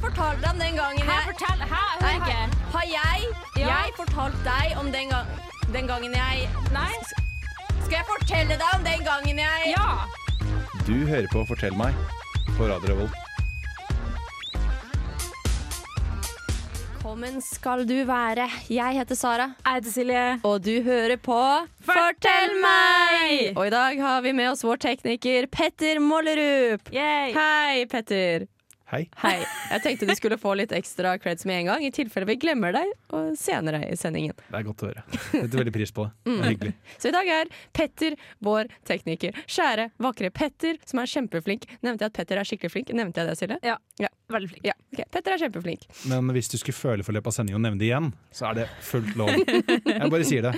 fortalte deg om den gangen Hæ, jeg fortell! Hæ, jeg Nei, hører har, ikke. har jeg, Ja. jeg fortalt deg om den, gang, den gangen jeg Nei? Skal jeg fortelle deg om den gangen jeg Ja! Du hører på Fortell meg på Radio Revolt. Velkommen skal du være. Jeg heter Sara, Jeg heter Silje. og du hører på Fortell meg! Og i dag har vi med oss vår tekniker Petter Mollerup. Yay! Hei, Petter. Hei. Hei. Jeg tenkte du skulle få litt ekstra creds med en gang, i tilfelle vi glemmer deg og senere i sendingen. Det er godt å høre. Jeg setter veldig pris på det. det er hyggelig. Så i dag er Petter vår tekniker. Kjære, vakre Petter, som er kjempeflink. Nevnte jeg at Petter er skikkelig flink? Nevnte jeg det, Silje? Ja. Ja. Veldig flink. Ja, ok. Petter er kjempeflink. Men hvis du skulle føle for løpet av sendingen å nevne det igjen, så er det fullt lov. Jeg bare sier det.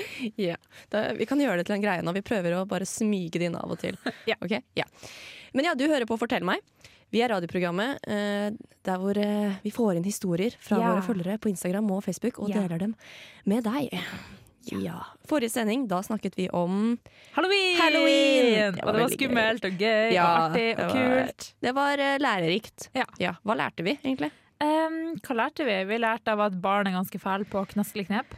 Ja. Da, vi kan gjøre det til en greie nå. Vi prøver å bare smyge det inn av og til. Ja. Ok? Ja. Men ja, du hører på Fortell meg. Vi er radioprogrammet eh, der hvor eh, vi får inn historier fra Ja. våre følgere på Instagram og Facebook, og Ja. deler dem med deg. Ja. Forrige sending, da snakket vi om Halloween! Halloween! Det var Og det var veldig gøy. skummelt og gøy og Ja, Eh, artig det og var- kult. Det var eh, lærerikt. Ja. Hva lærte vi, egentlig? Ehm, hva lærte vi? Vi lærte av at barn er ganske fæle på knaskelig knep.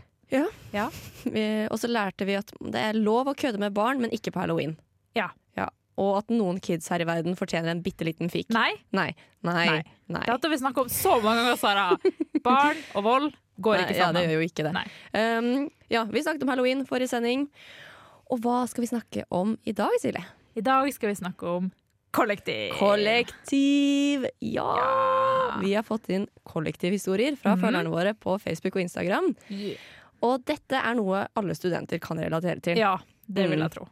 Vi- Og så lærte vi at det er lov å kødde med barn, men ikke på halloween. Ja. Og at noen kids her i verden fortjener en bitte liten fikk. Nei, Nei. Nei. Nei. Nei. det har vi snakket om så mange ganger, Sara. Barn og vold går Nei, Ja, ikke det sammen. gjør jo ikke det. Nei. Um, ja, vi snakket om halloween forrige sending. Og hva skal vi snakke om i dag, Silje? I dag skal vi snakke om kollektiv. Kollektiv! Ja! Eh. Ja. Vi har fått inn kollektivhistorier fra Mhm. følgerne våre på Facebook og Instagram. Og dette er noe alle studenter kan relatere til. Ja, det Mm. vil jeg tro.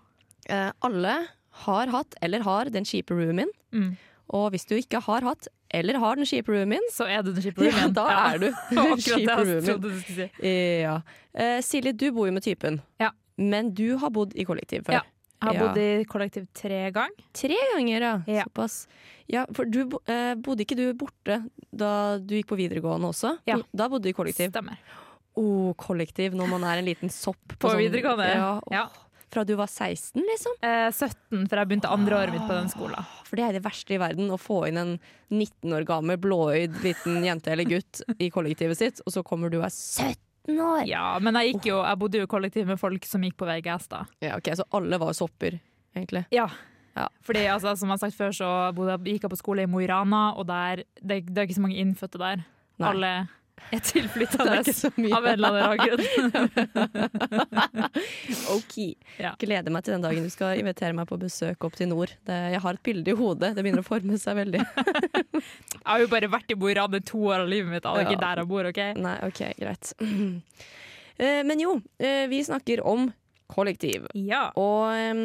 Eh, alle har hatt eller har den kjipe roomien. Mm. Og hvis du ikke har hatt eller har den kjipe roomien, Så er du den kjipe ja, roomien. da er du den Akkurat det kjipe jeg roomien. trodde du skulle si. Ja. Eh, Silje, du bor jo med typen. Ja. Men du har bodd i kollektiv før. Ja. Jeg har Ja. bodd i kollektiv tre ganger. Tre ganger, ja. Ja. Såpass. Ja, for du, bo- eh, bodde ikke du borte da du gikk på videregående også? Ja. Bo- Da bodde du i kollektiv. Stemmer. Oh, kollektiv når man er en liten sopp. På sånn- videregående. Ja, Ja. Fra du var 16, liksom? Eh, 17, for jeg begynte andre året mitt på den skolen. For det er det verste i verden, å få inn en 19 år gammel blåøyd liten jente eller gutt i kollektivet sitt, og så kommer du og er 17 år! Ja, men jeg, gikk jo, jeg bodde jo i kollektiv med folk som gikk på VGS da. Ja, ok, Så alle var sopper, egentlig. Ja. Ja. Fordi altså, som jeg har sagt før, så bodde, jeg- gikk jeg på skole i Mo i Rana, og der, det, det er ikke så mange innfødte der. Nei. Alle er Det er tilflyttende ikke så av en mye. eller annen rar grunn. Ok. Ja. Gleder meg til den dagen du skal invitere meg på besøk opp til nord. Det, jeg har et bilde i hodet, det begynner å forme seg veldig. Jeg har jo bare vært i Mo i Rana i to år av livet mitt, og det er ikke Ja. der jeg bor, OK? Nei, ok, greit. Eh, Men jo, eh, vi snakker om kollektiv. Ja. Og em,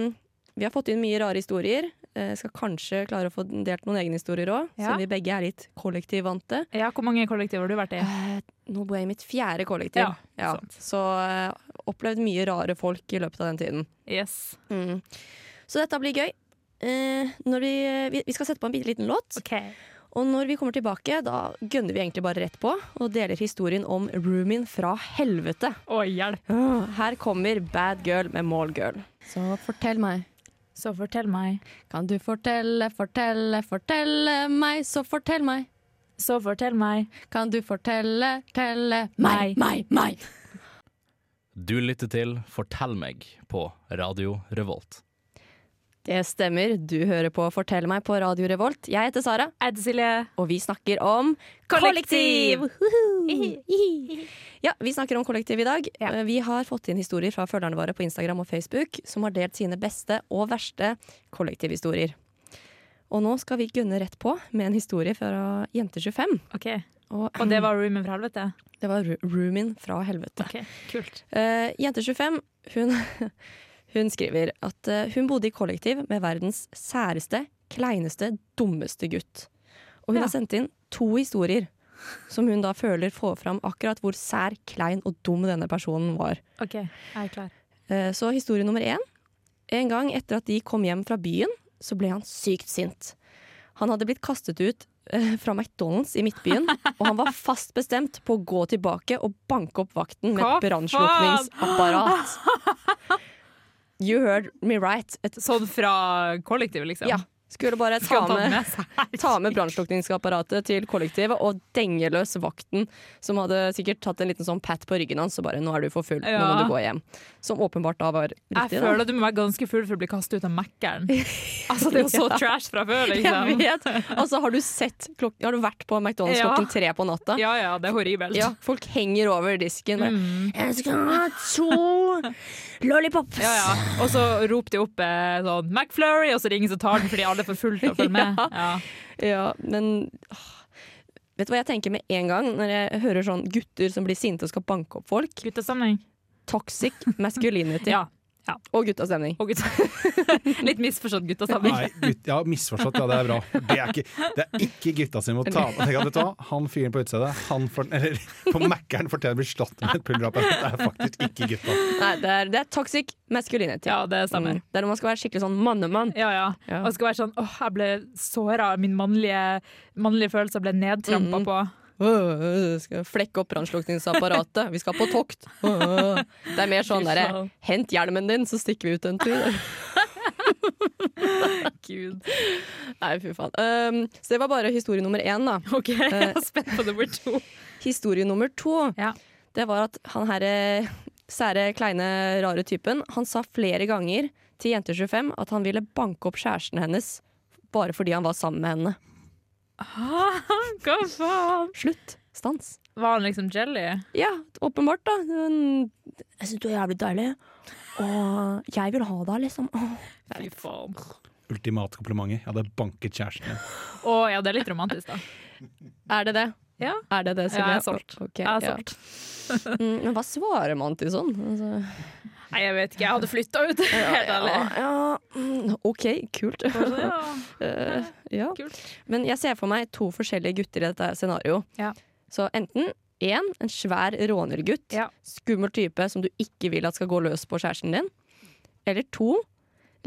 vi har fått inn mye rare historier. Eh, skal kanskje klare å få delt noen egne historier òg, Ja. siden vi begge er litt kollektivvante. ja. Hvor mange kollektiv har du vært i? Eh, nå bor jeg i mitt fjerde kollektiv, Ja, sant. så eh, opplevd mye rare folk i løpet av den tiden. Yes. Mm. Så dette blir gøy. Eh, når vi, vi, vi skal sette på en bitte liten låt, OK. og når vi kommer tilbake, da gønner vi egentlig bare rett på og deler historien om roomien fra helvete. Å, hjelp. Ah, Her kommer Bad Girl med Mallgirl. Så fortell meg. Så fortell meg. Kan du fortelle, fortelle, fortelle meg, så fortell meg. Så fortell meg. Kan du fortelle, telle meg, meg, meg. Du lytter til Fortell meg på Radio Revolt. Det stemmer, du hører på Fortell meg på Radio Revolt. Jeg heter Sara, Jeg heter Silje. og vi snakker om kollektiv! Kollektiv! Uhuhu. Ja, vi snakker om kollektiv i dag. Ja. Eh, Vi har fått inn historier fra følgerne våre på Instagram og Facebook, som har delt sine beste og verste kollektivhistorier. Og nå skal vi gønne rett på med en historie fra Jente25. OK. Og Og det var roomien fra helvete? det var Ru- roomien fra helvete. OK, kult. Eh, Jente25 hun, hun skriver at eh, hun bodde i kollektiv med verdens særeste, kleineste, dummeste gutt. Og hun Ja. har sendt inn to historier som hun da føler får fram akkurat hvor sær, klein og dum denne personen var. OK, jeg er klar. Eh, Så historie nummer én. En gang etter at de kom hjem fra byen, så ble han sykt sint. Han hadde blitt kastet ut eh, fra McDonald's i Midtbyen, og han var fast bestemt på å gå tilbake og banke opp vakten med Hva et brannslukningsapparat. You heard me right. Et, Sånn fra kollektivet, liksom? ja, Skulle bare ta Skal han ta den med, med seg? ta med brannslukningsapparatet til kollektivet og denge løs vakten, som hadde sikkert tatt en liten sånn pat på ryggen hans og bare 'nå er du for full, nå må Ja. du gå hjem'. Som åpenbart da var riktig. Jeg da. føler at du må være ganske full for å bli kastet ut av Mækkern. Altså, det er jo så Ja. trash fra før, Jeg liksom. vet! Altså, har du, sett klok har du vært på McDonald's Ja. klokken tre på natta? Ja Mm. ja, det er horribelt. Ja, folk henger over disken. bare, Jeg skal ha to lollipops! Ja, ja. Og så ropte jeg opp eh, sånn McFlurry, og så er det ingen som tar den fordi alle er for fulle til å følge med. Ja. Ja, men åh. Vet du hva jeg tenker med en gang når jeg hører sånn gutter som blir sinte og skal banke opp folk? Guttesamling. Toxic masculinity Ja. og guttastemning. Og gutta. Litt misforstått guttesamling. Nei, gutt, ja, misforstått. Ja, det er bra. Det er ikke, det er ikke gutta sine mot ta på. Tenk at, vet du hva, han fyren på utestedet, han for, eller på Mækkern fortjener å bli slått med et pulverdrap. Det er faktisk ikke gutta. Nei, det er, det er toxic masculinity. Ja, det stemmer. Mm. Det er når man skal være skikkelig sånn mannemann. Ja, ja. Ja. Og skal være sånn åh, jeg ble såra, min mannlige, mannlige følelse ble nedtrampa Mhm. på. Øh, skal flekke opp brannslukningsapparatet. Vi skal på tokt. Øh. Det er mer sånn Fy derre faen. Hent hjelmen din, så stikker vi ut en tur. Gud. Nei, fy faen. Um, så det var bare historie nummer én, da. OK, jeg er spent på nummer to. Historie nummer to Ja. Det var at han her eh, sære, kleine, rare typen Han sa flere ganger til Jente25 at han ville banke opp kjæresten hennes bare fordi han var sammen med henne. Ah, Hva faen? Slutt. Stans. Var han liksom jelly? Ja, åpenbart, da. Men jeg syns du er jævlig deilig, og jeg vil ha deg, liksom. Åh. Fy faen. Ultimatkomplimenter. Jeg hadde banket kjæresten min. Å ja, det er litt romantisk, da. Er det det? Ja. Er det det, Jeg Silje? er solgt. Ok, Jeg er ja. solgt. Mm, men hva svarer man til sånn? Altså, Nei, jeg vet ikke. Jeg hadde flytta ut, helt ærlig. ja, ja, mm, OK, kult. Ja. Eh, ja. Kult. Men jeg ser for meg to forskjellige gutter i dette scenarioet. Ja. Så enten én, en svær rånergutt. Ja. Skummel type som du ikke vil at skal gå løs på kjæresten din. Eller to,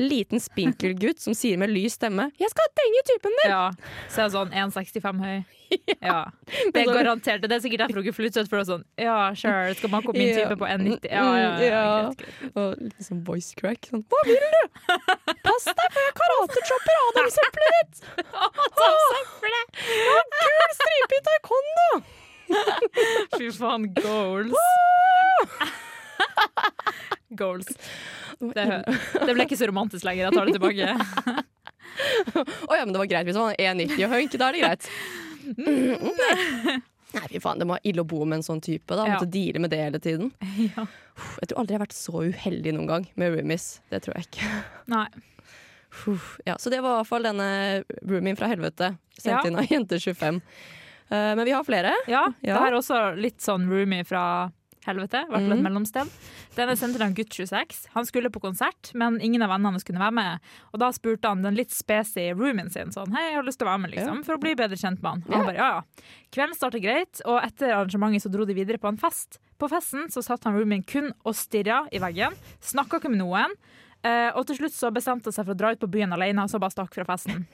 liten spinkel gutt som sier med lys stemme 'Jeg skal denge typen din!' Ja. Så jeg er sånn 1,65 høy. Ja. Men Det sånn- er så- garantert. Det er sikkert derfor hun ikke flyttet ut, for det er sånn Ja, sure, skal man opp min Ja. Mm, type på 1,90? Ja, ja, ja, Ja. greit, greit. Og litt sånn voice crack. Sånn 'Hva vil du?' 'Pass deg, for jeg karatechopper adamseplet ditt!' «Jeg har Gul stripe i taekwondo! Fy faen, goals. Goals. Det, det ble ikke så romantisk lenger. Jeg tar det tilbake. Å ja, men det var greit hvis han var 1,90 og hønk. Da er det greit. Nei, fy faen, det må være ille å bo med en sånn type. Da. Mm. Ja. Måtte deale med det hele tiden. Ja. Uff, Jeg tror aldri jeg har vært så uheldig noen gang med roomies. Det tror jeg ikke. Nei. Uff, Ja, så det var i hvert fall denne roomien fra helvete. Sendt Ja. inn av Jente25. Eh, men vi har flere. Ja, Ja. det her er også litt sånn roomie fra helvete, i hvert fall et mellomsted. Den er sendt til en gutt 26. Han skulle på konsert, men ingen av vennene hans kunne være med. Og da spurte han den litt spesy roomien sin sånn, hei, jeg har lyst til å være med, liksom, for å bli bedre kjent med han. Og han bare, ja, ja. Kvelden startet greit, og etter arrangementet så dro de videre på en fest. På festen så satt han roomien kun og stirret i veggen, snakket ikke med noen, eh, og til slutt så bestemte han seg for å dra ut på byen alene, og så bare stakk fra festen.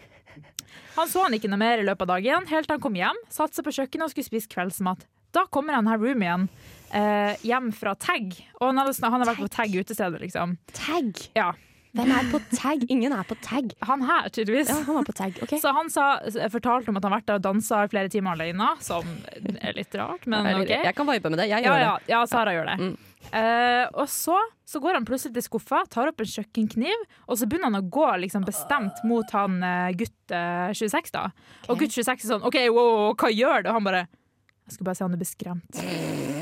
Han så han ikke noe mer i løpet av dagen, helt til han kom hjem, satte seg på kjøkkenet og skulle spise kveldsmat. Da kommer han her roomien eh, hjem fra Tag, og han, hadde, snak- han har vært på Tag utestedet, liksom. Tag. Ja, Hvem er på tag? Ingen er på tag. han her, tydeligvis. Ja, han var på tag. Ok. Så han sa, fortalte om at han har vært der og dansa i flere timer alene, som er litt rart, men Eller, Ah, OK. Jeg kan vibe med det. Jeg Ja, gjør ja, ja Sara gjør det. Mm. Eh, og så, så går han plutselig til skuffa, tar opp en kjøkkenkniv, og så begynner han å gå liksom, bestemt mot han eh, gutt eh, 26, da. Og gutt 26 er sånn OK, wow, wow, hva gjør du? Og han bare Jeg skulle bare se om du ble skremt.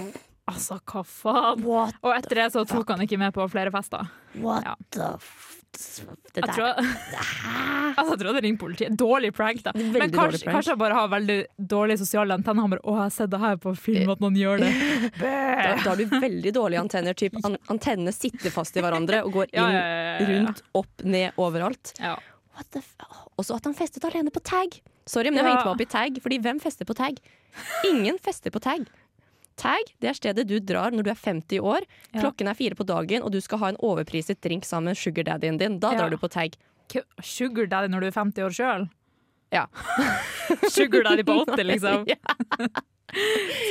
Altså, hva faen? det. What, Og etter det så tok han ikke med på flere fester. what Ja. the f... Det Jeg tror, altså, jeg tror det ringer politiet. Dårlig prank, da. Veldig Men dårlig kanskje, prank. kanskje han bare har veldig dårlige sosiale antenner. Han bare 'Å, jeg har sett det her på film, at noen gjør det'. Da, da har du veldig dårlige antenner. Typ. An antennene sitter fast i hverandre og går inn, Ja, ja, ja, ja, ja. rundt, opp, ned, overalt. Ja. What the f Og så at han festet alene på tag! Sorry, men jeg Ja. hengte meg opp i tag, fordi hvem fester på tag? Ingen fester på tag. Tag det er stedet du drar når du er 50 år, Ja. klokken er fire på dagen, og du skal ha en overpriset drink sammen med sugardaddyen din. Da Ja. drar du på tag. K- Sugar daddy når du er 50 år sjøl? Ja. Sugar daddy på 80, liksom? Ja. Ja,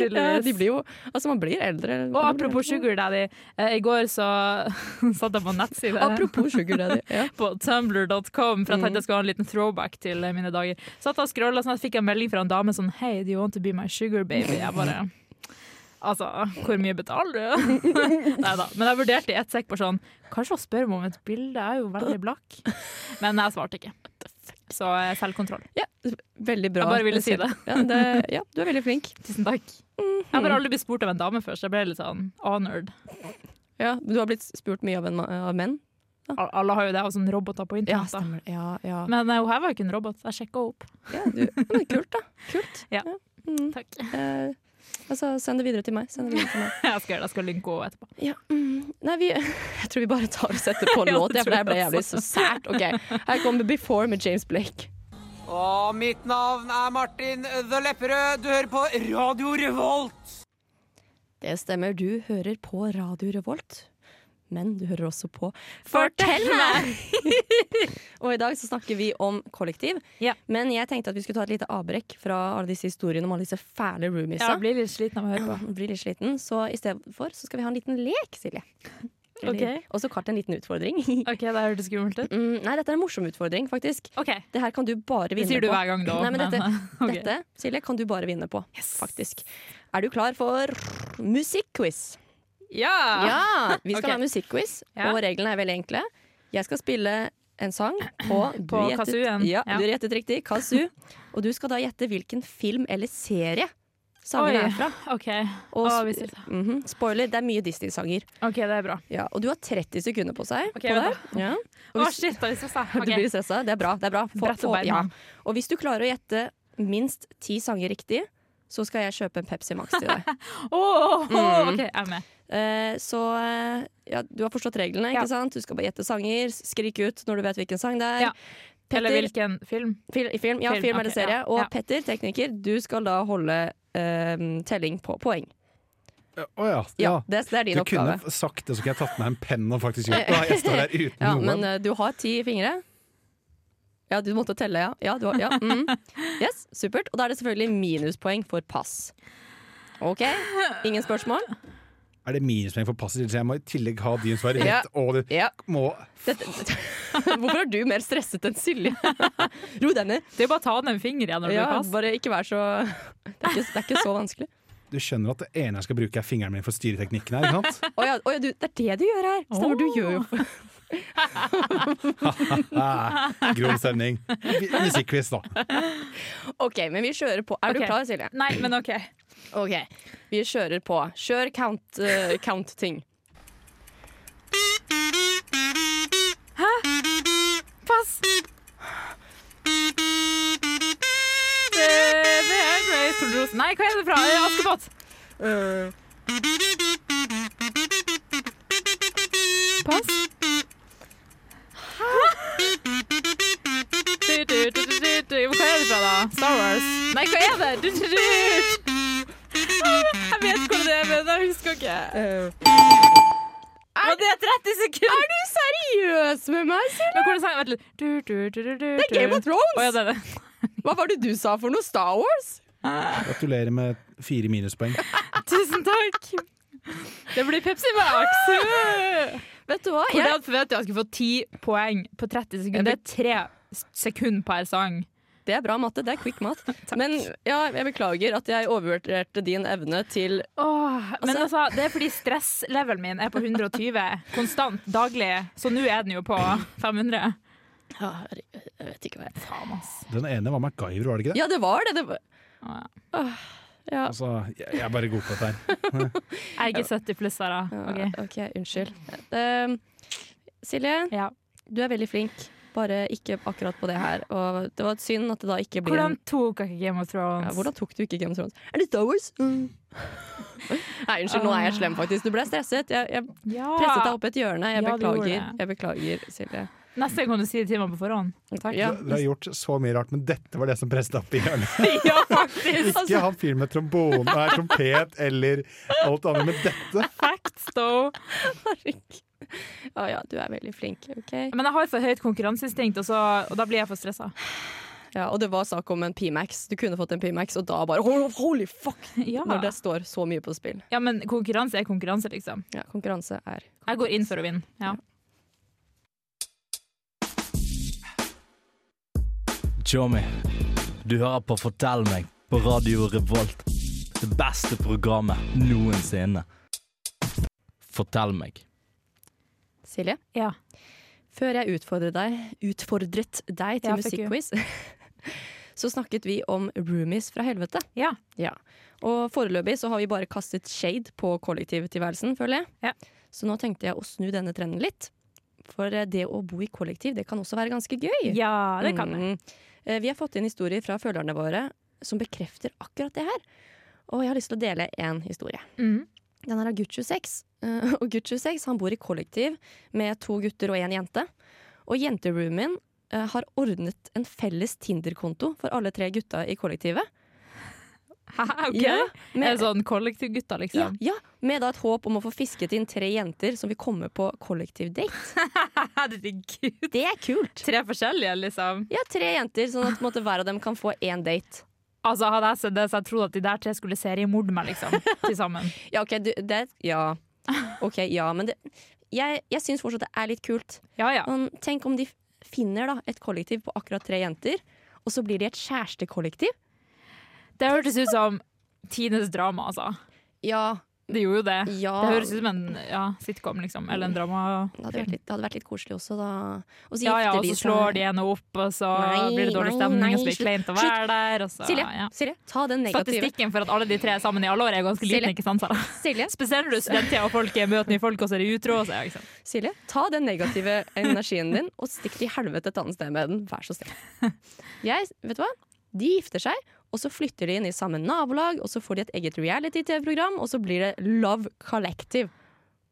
Tydeligvis. de blir jo Altså, man blir eldre. Og apropos sugar daddy, eh, i går så satt jeg på en nettside Apropos sugar daddy. Ja. på tumblr.com, for jeg tenkte jeg skulle ha en liten throwback til eh, mine dager. Satt og scrollet, sånn at jeg fikk en melding fra en dame sånn Hei, do you want to be my sugar baby? Jeg bare Altså, hvor mye betaler du? Nei da. Men jeg vurderte i ett sekk på sånn Kanskje hun spør meg om et bilde, jeg er jo veldig blakk. Men jeg svarte ikke. Så eh, selvkontroll. ja, veldig bra. Jeg bare ville si det. Ja, det. ja, du er veldig flink. Tusen takk. Jeg har bare aldri blitt spurt av en dame før, så jeg ble litt sånn honored. Ja, du har blitt spurt mye av, en, ma- av menn. Al- Alle har jo det, og sånn roboter på internett. da. stemmer. Ja, ja. Men eh, hun her var jo ikke en robot, jeg sjekka henne opp. ja du, men kult, da. Kult. Ja. Mm. Takk. Eh, altså, send det videre til meg. Send det videre til meg. Jeg skal, jeg skal linke henne etterpå. Ja. Mm. Nei, vi, jeg tror vi bare tar og setter på en Ja, det låt, jeg, for det tror her ble jeg jævlig så sært. Ok, Her kommer 'Before' med James Blake. Og mitt navn er Martin The Lepperød. Du hører på Radio Revolt. Det stemmer, du hører på Radio Revolt. Men du hører også på Fortell meg! og i dag så snakker vi om kollektiv. Ja. Men jeg tenkte at vi skulle ta et lite avbrekk fra alle disse historiene om alle disse fæle Ja, roomiesa. jeg blir litt sliten av å høre på. Jeg blir litt sliten, så i stedet for så skal vi ha en liten lek, Silje. Ok. Også kalt en liten utfordring. OK, det hørtes skummelt ut. Mm, nei, dette er en morsom utfordring, faktisk. OK. Det her kan du bare vinne på. Det sier du hver gang, da. Nei, men dette, ok. dette Silje, kan du bare vinne på, faktisk. Er du klar for musikkquiz? Ja! Ja! Vi skal Ok. ha musikkquiz, Ja. og reglene er veldig enkle. Jeg skal spille en sang på, du På gjettet- kazooen. Ja, Ja. Du har gjettet riktig. Kazoo. Og du skal da gjette hvilken film eller serie sangen Oi. er fra. OK. Og, Å, vi ser det. Mhm. Spoiler, det er mye Disney-sanger. OK, det er bra. Ja, og du har 30 sekunder på, seg, Ok, på vent deg. Ja. Å, Og hvis- shit, da er vi stressa. Du blir OK. stressa? Det er bra. det er bra. Brett opp ja. beina. Og hvis du klarer å gjette minst ti sanger riktig, så skal jeg kjøpe en Pepsi Max til deg. Å, å, å, OK, jeg er med. Eh, så eh, ja, du har forstått reglene, Ja. ikke sant? Du skal bare gjette sanger, skrike ut når du vet hvilken sang det er. Ja. Eller hvilken film? fil, film, ja, Film, film, eller ok, serie. ja, Og ja. Petter, tekniker, du skal da holde eh, telling på poeng. Å ja. ja. Ja, det, det er din Du kunne oppgave. f- sagt det, så kunne jeg tatt med en penn og faktisk gjort det. Nei, Jeg står der uten Ja, noe. men eh, du har ti fingre. Ja, du måtte telle, ja. ja, du har, ja. Mm. Yes, supert. Og da er det selvfølgelig minuspoeng for pass. OK, ingen spørsmål? Er det minuspoeng for passet? Så jeg må i tillegg ha din som er eh, Ja. rett, og du Ja. må Dette, hvorfor er du mer stresset enn Silje? Ro deg ned. Det er jo bare å ta ned en finger igjen når det Ja, blir pass. bare ikke vær så det er, ikke, det er ikke så vanskelig. Du skjønner at det ene jeg skal bruke, er fingeren min for styreteknikken her, ikke sant? Å ja, å ja, du, det er det du gjør her! Stemmer, du gjør jo Ah, Grov stemning. Vi- Musikkquiz, da. OK, men vi kjører på. Er Ok. du klar, Silje? Nei, men OK. OK, vi kjører på. Kjør count, eh, count-ting. Pass! Det, det er Grey Torderos. Nei, hva er det fra? Eh, Askepott! Pass. Du, du, du, du, du, du. Hvor- Hva er det fra, da? Star Wars? Nei, hva er det? Du, du, du. Jeg vet hvor det er, men jeg husker ikke. Og det er 30 sekunder! Er du seriøs med meg, Silje? Men hvordan sang Vent litt. Du, du, du, du, du, Det er Game of Thrones! Å, ja, det er det. Hva var det du sa for noe? Star Wars? Gratulerer med fire minuspoeng. Tusen takk! Det blir Pepsi Max! Hvordan Vet du hva? Jeg, forventer jeg at jeg skulle få ti poeng på 30 sekunder? Det er tre sekunder per sang. det er bra matte. Det er quick mat. Men ja, jeg beklager at jeg overvurderte din evne til Åh, men Altså- altså, det er fordi stresslevelen min er på 120 konstant, daglig. Så nå er den jo på 500. Ja, herregud, jeg vet ikke hva jeg Faen, ass. Den ene var MacGyver, var det ikke det? Ja, det var det. det var. Åh, ja. Ja. Altså, jeg, jeg er bare god på dette her. Jeg er ikke 70 pluss, Sara. Ok. OK, unnskyld. Ehm, Silje, Ja. du er veldig flink, bare ikke akkurat på det her. Og det var synd at det da ikke blir Hvordan en- tok dere Game of ja, Thrones? hvordan tok du ikke Game of Thrones? Er det Star Wars? Mm. Nei, unnskyld, nå er jeg slem, faktisk. Du ble stresset. Jeg, jeg Ja. presset deg opp i et hjørne. Jeg Ja, du gjorde beklager. Jeg beklager, Silje. Neste gang kan du si det til meg på forhånd. Takk. Du, dere har gjort så mye rart, men dette var det som presset opp i hjørnet. Ja, faktisk! Ikke han fyren med trombone og trompet eller alt det andre, men dette Facts, though. Herregud. Ja ja, du er veldig flink. OK? Men jeg har for høyt konkurranseinstinkt, og, så, og da blir jeg for stressa. Ja, og det var snakk om en P-Max. Du kunne fått en P-Max, og da bare ho- holy fuck! Ja. Når det står så mye på spill. ja, men konkurranse er konkurranse, liksom. Ja, konkurranse er Jeg går inn for å vinne. Ja. Tjommi, du hører på Fortell meg på Radio Revolt. Det beste programmet noensinne. Fortell meg. Silje, Ja. før jeg utfordret deg, utfordret deg til Ja, fuck you. musikkquiz, så snakket vi om roomies fra helvete. Ja. Ja. Og foreløpig så har vi bare kastet shade på kollektivtilværelsen, føler jeg. Ja. Så nå tenkte jeg å snu denne trenden litt. For eh, det å bo i kollektiv, det kan også være ganske gøy. ja, det kan jeg. Mm. Eh, Vi har fått inn historier fra følgerne våre som bekrefter akkurat det her. Og jeg har lyst til å dele én historie. Mm. Den er av Gucci 6. Eh, Og Gucci 6 han bor i kollektiv med to gutter og én jente. Og jenteroomien eh, har ordnet en felles Tinder-konto for alle tre gutta i kollektivet. Hæ, ok. Ja, Er med, det sånn ja, kollektivgutter, liksom? ja, med da et håp om å få fisket inn tre jenter som vil komme på kollektivdate. Herregud. Det er kult! Tre forskjellige, liksom. Ja, tre jenter, sånn at på en måte, hver av dem kan få én date. Altså, Hadde jeg sett det, så jeg trodde at de der tre skulle seriemorde meg, liksom. Til sammen. Ja, ok, du, det er Ja. Ok, ja, men det Jeg, jeg syns fortsatt det er litt kult. Ja ja. Men tenk om de f- finner da et kollektiv på akkurat tre jenter, og så blir de et kjærestekollektiv? Det hørtes ut som tidenes drama, altså. Ja. Det gjorde jo det. Ja. Det høres ut som en ja, sitcom, liksom. Eller en drama. Det hadde vært litt, det hadde vært litt koselig også, da. Og så Ja, ja, gifter og så de slår seg. de henne opp, og så Nei, blir det dårlig nei, stemning, nei, og så blir det slutt, kleint å slutt. være der. Og så, Silje, ja. Silje, ta den negative. Statistikken for at alle de tre er sammen i alle år, er ganske Silje. liten. ikke sant, Sara? Silje, Spesielt når du er studenttida og folk er- møter nye folk, og så er de utro. Og så, ja, ikke sant? Silje, ta den negative energien din og stikk til helvete et annet sted med den. Vær så snill. Jeg, vet du hva? De gifter seg, og så flytter de inn i samme nabolag, og så får de et eget reality-TV-program, og så blir det Love Collective.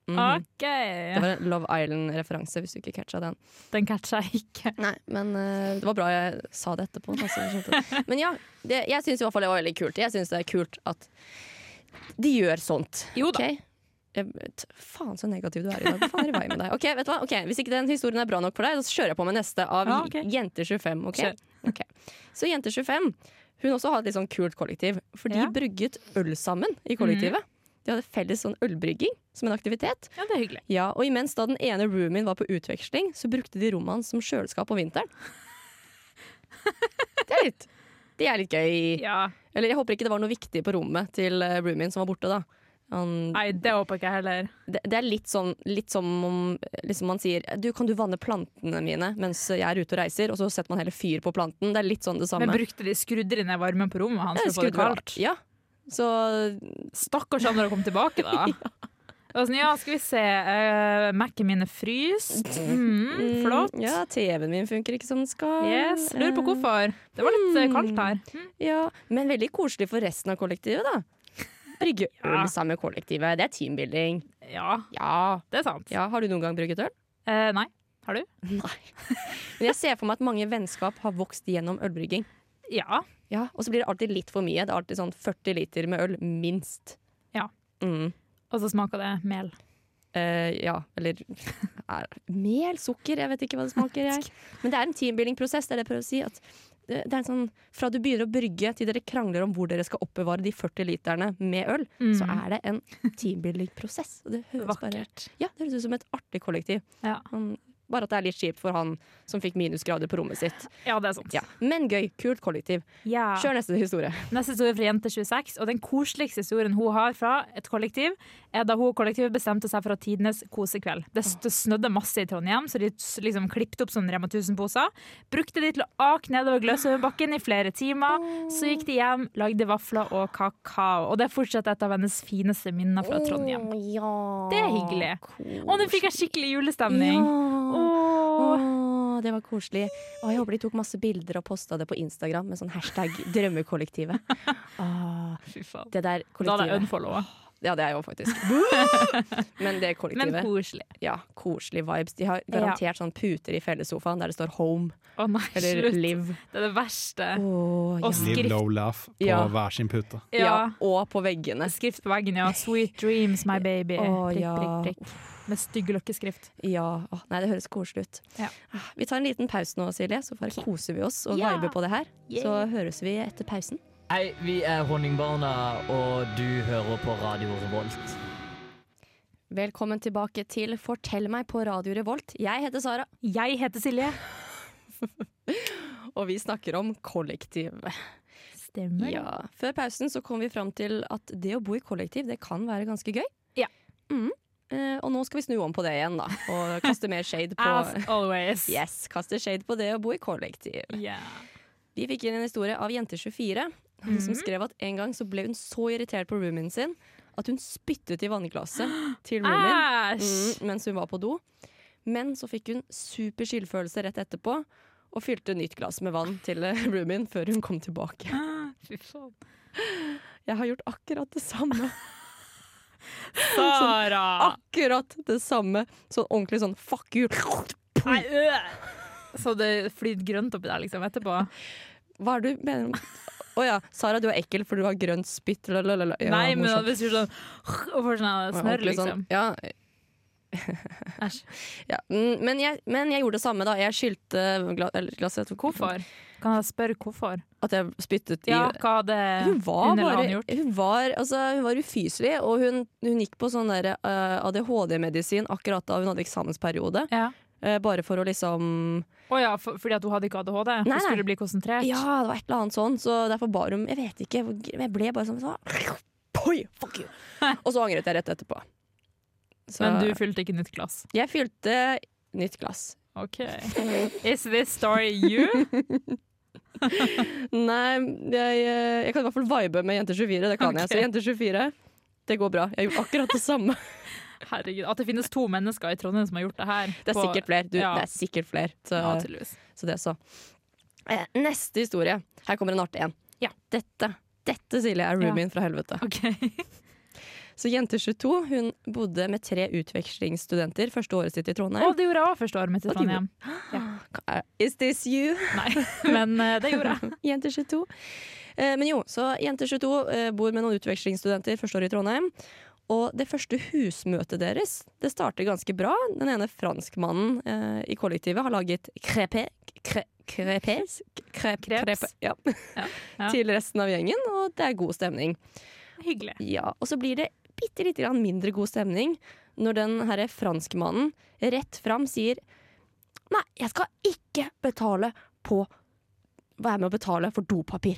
Mhm. OK. Det var en Love Island-referanse, hvis du ikke catcha den. Den catcha jeg ikke. Nei, men eh, det var bra jeg sa det etterpå. da, så jeg skjønte. Men ja, det, jeg syns i hvert fall det var veldig kult. Jeg syns det er kult at de gjør sånt. Jo da. Ok? Jeg, t- faen så negativ du er i dag. Hva faen er i veien med deg? Ok, vet du hva? Ok, Hvis ikke den historien er bra nok for deg, så kjører jeg på med neste av Ja, ok. Jente25. ok? Kjør. Ok. Så Jente25 hun også har et litt sånn kult kollektiv. For de Ja. brygget øl sammen i kollektivet. De hadde felles sånn ølbrygging som en aktivitet. Ja, det er hyggelig. Ja, Og imens da den ene roomien var på utveksling, så brukte de rommet hans som kjøleskap om vinteren. Det er litt, det er litt gøy. Ja. Eller jeg håper ikke det var noe viktig på rommet til eh, roomien som var borte, da. Han, Nei, det håper ikke jeg heller. det, det er litt, sånn, litt som om liksom man sier du, 'Kan du vanne plantene mine mens jeg er ute og reiser?' Og så setter man heller fyr på planten. Det er litt sånn det samme. Men brukte de skrudder i ned varmen på rommet hans Ja, for å få det skudd var- kaldt? Ja. Så Stakkars han når han kom tilbake, da. Det var sånn, ja, skal vi se. Uh, Mac-en min er fryst. Mm, flott. mm, Ja, TV-en min funker ikke som den skal. Yes. Lurer på hvorfor. Det var litt eh, kaldt her. Mm. Eh, Ja, Men veldig koselig for resten av kollektivet, da. Brygge Ja. øl sammen med kollektivet. Det er teambuilding. Ja, Ja. det er sant. ja. Har du noen gang brygget øl? Eh, nei. Har du? Nei. Men jeg ser for meg at mange vennskap har vokst gjennom ølbrygging. Ja. Ja, Og så blir det alltid litt for mye. Det er alltid sånn 40 liter med øl, minst. Ja. Mm. Og så smaker det mel. Eh, ja, eller er, Mel, sukker, jeg vet ikke hva det smaker. Jeg. Men det er en teambuilding-prosess. Det er det jeg prøver å si. At det, det er en sånn, fra du begynner å brygge til dere krangler om hvor dere skal oppbevare de 40 literne med øl, så er det en teambuilding-prosess. Og det høres bare Mm. Vakkert. Ja, det høres ut som et artig kollektiv. Ja. Han, bare at det er litt kjipt for han som fikk minusgrader på rommet sitt. ja, det er sant. Ja. Men gøy. Kult kollektiv. Ja. Kjør neste historie. Neste historie er fra jente 26, og den koseligste historien hun har fra et kollektiv, er da hun og kollektivet bestemte seg for å ha tidenes kosekveld. Det, s- det snødde masse i Trondheim, så de s- liksom klippte opp sånne Rema 1000-poser. Brukte de til å ake nedover Gløshaugenbakken i flere timer. Så gikk de hjem, lagde vafler og kakao. Og det er fortsatt et av hennes fineste minner fra Trondheim. Å, ja. Det er hyggelig. Kos- Og nå fikk jeg skikkelig julestemning. Ja. Åh. Åh, det var koselig. Åh, jeg håper de tok masse bilder og posta det på Instagram med sånn hashtag 'drømmekollektivet'. Åh, Fy faen. det der Da hadde jeg kollektivet. unfollowa. Ja, det er jeg òg, faktisk. Men det Men kollektivet. koselig. Ja, Koselige vibes. De har garantert sånn puter i fellessofaen der det står 'home' Å nei, eller slutt. 'live'. Det er det verste. Åh, ja. Og skrift. Live low laugh på Ja. hver sin pute. ja. Og på veggene. Skrift på veggen, ja. 'Sweet dreams, my baby'. Å, prikk, ja. prikk, prikk. med stygg løkkeskrift. Ja, Åh, Nei, det høres koselig ut. Ja. Ah, Vi tar en liten pause nå, Silje, så bare koser vi oss og Ja. viber på det her. Så høres vi etter pausen. Hei, vi er Honningbarna, og du hører på Radio Revolt. Velkommen tilbake til Fortell meg på Radio Revolt. Jeg heter Sara, Jeg heter Silje. og vi snakker om kollektiv. Stemmer. Ja. Ja. Før pausen så kom vi fram til at det å bo i kollektiv, det kan være ganske gøy. Ja. Mm. Eh, og nå skal vi snu om på det igjen, da. Og kaste mer shade As på always. Yes, kaste shade på det å bo i kollektiv. Ja. Vi fikk inn en historie av jente24, som skrev at en gang så ble hun så irritert på roomien sin at hun spyttet i vannglasset til roomien Ah! Æsj! mm, mens hun var på do. Men så fikk hun super skyldfølelse rett etterpå og fylte nytt glass med vann til eh, roomien før hun kom tilbake. Fy faen. Jeg har gjort akkurat det samme. Sara! Akkurat det samme. Sånn ordentlig sånn fuck you. Nei, øh. Så det flyter grønt oppi der liksom etterpå? Hva er det du mener om Å ja, Sara du er ekkel for du har grønt spytt. lalalala. Ja, Nei, men morsomt. hvis du gjør sånn og får sånn snørr, Ordentlig liksom. sånn, Ja, Æsj. ja. Mm, Men, jeg, men jeg gjorde det samme, da. Jeg skyldte gla, eller glasset for Hvorfor? Kan jeg spørre hvorfor? At jeg spyttet i Ja, eh, hva hadde Hun var underlagen bare gjort? Hun var, altså, hun var ufyselig, og hun, hun gikk på sånn der, eh, ADHD-medisin akkurat da hun hadde eksamensperiode. Ja. eh, bare for å liksom Å ja, for, fordi at hun hadde ikke ADHD? Nei, Hun nei. skulle bli konsentrert? Ja, det var et eller annet sånn, så derfor bar hun Jeg vet ikke, hvor- jeg ble bare sånn så, Poi, fuck you! Og så angret jeg rett etterpå. Så Men du fylte ikke nytt glass? jeg fylte nytt glass. OK. Is this story you? Nei, jeg, eh, jeg kan i hvert fall vibe med Jenter24, det kan jeg. Så Ok. Jenter24, det går bra. Jeg gjorde akkurat det samme. Herregud. At det finnes to mennesker i Trondheim som har gjort det her. Det er på- sikkert flere. Du, ja. det er sikkert flere. Så, Ja, tydeligvis. så det så. Eh, Neste historie. Her kommer en artig en. Ja. Dette, dette Silje, er Ja. roomien fra helvete. OK. Så Jenter22 hun bodde med tre utvekslingsstudenter første året sitt i Trondheim. Og det gjorde jeg òg første året mitt i Og det gjorde- Trondheim. Is this you? Nei, men eh, det gjorde jeg. Jenter 22. Eh, men jo, så Jenter 22 eh, bor med noen utvekslingsstudenter første år i Trondheim. Og det første husmøtet deres det starter ganske bra. Den ene franskmannen eh, i kollektivet har laget crepé cre- crepés? Cre- Kreps. crepe- ja. Ja, ja. Til resten av gjengen, og det er god stemning. Hyggelig. Ja, og så blir det bitte lite grann mindre god stemning når den herre franskmannen rett fram sier Nei, jeg skal ikke betale på Være med å betale for dopapir.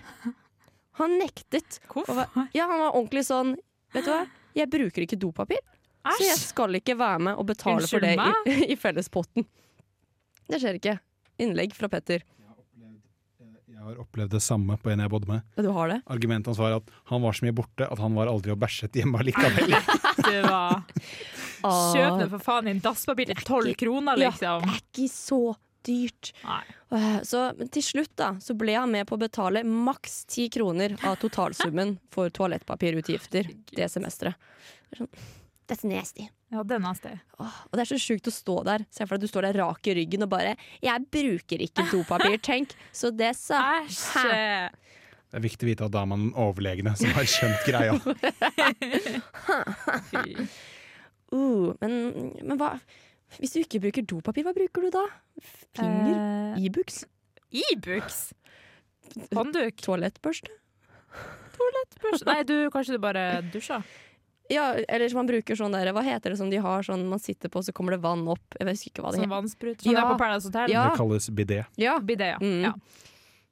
Han nektet. å Hvorfor? være- Ja, han var ordentlig sånn Vet du hva, jeg bruker ikke dopapir, så jeg Æsj! skal ikke være med og betale for Unnskyld det i, i fellespotten. Det skjer ikke. Innlegg fra Petter. Jeg har opplevd det samme på en jeg bodde med. Du har det? Argumentet hans var at han var så mye borte at han var aldri og bæsjet hjemme allikevel. Det var Kjøp det Ah, for faen i en dasspapir til tolv kroner, Ja. liksom. det er ikke så dyrt. Nei. Øh, Så men til slutt da, så ble han med på å betale maks ti kroner av totalsummen for toalettpapirutgifter det semesteret. Det er sånn, That's nasty. Ja, den er sted. Åh, og det er så sjukt å stå der. Se for deg at du står der rak i ryggen og bare 'Jeg bruker ikke dopapir, tenk'. Så det sa Æsj! eh, Det er viktig å vite at da er man den overlegne som har skjønt greia. Fy. uh, Men, men hva Hvis du ikke bruker dopapir, hva bruker du da? Finger? Eh, Ibux? E-books? Håndduk? Toalettbørste? Spørs- Nei, du, kanskje du bare dusja? Ja, eller som man bruker sånn der Hva heter det som de har sånn man sitter på, så kommer det vann opp? Jeg husker ikke hva det Sånn heter. vannsprut? Sånn det er Ja. på Paradise Hotel? Ja. Det kalles bidé. Ja, Bidé, ja. Mm. ja.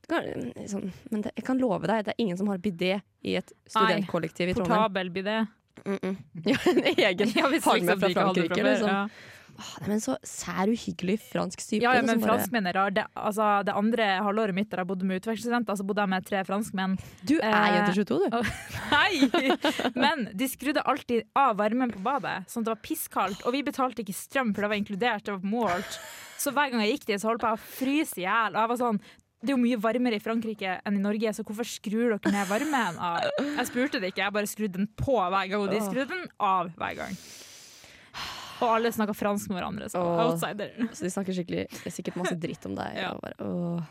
Kan- Sånn, men det, jeg kan love deg, det er ingen som har bidé i et studentkollektiv i Trondheim. Portabel bidé. Mm -mm. Ja, en egen Ja, hvis har med liksom fra de ikke hadde det Frankrike, fra før, liksom. ja. Åh, nei, men så sær uhyggelig fransk type. Ja, ja, da, men som bare- franskmenn er rar. Det, altså, det andre halvåret mitt der jeg bodde med utvekslingsstudenter, så bodde jeg med tre franskmenn. Du er eh, jente 22, du. Nei! Men de skrudde alltid av varmen på badet, sånn at det var pisskaldt. Og vi betalte ikke strøm, for det var inkludert. Det var målt. Så hver gang jeg gikk dit, så holdt jeg på å fryse i hjel. Og jeg var sånn det er jo mye varmere i Frankrike enn i Norge, så hvorfor skrur dere ned varmen av? Jeg spurte det ikke, jeg bare skrudde den på hver gang, og de skrudde den av hver gang. Og alle snakka fransk med hverandre, så Åh. outsider. Så de snakker skikkelig, sikkert masse dritt om deg. Ja. og bare, åh.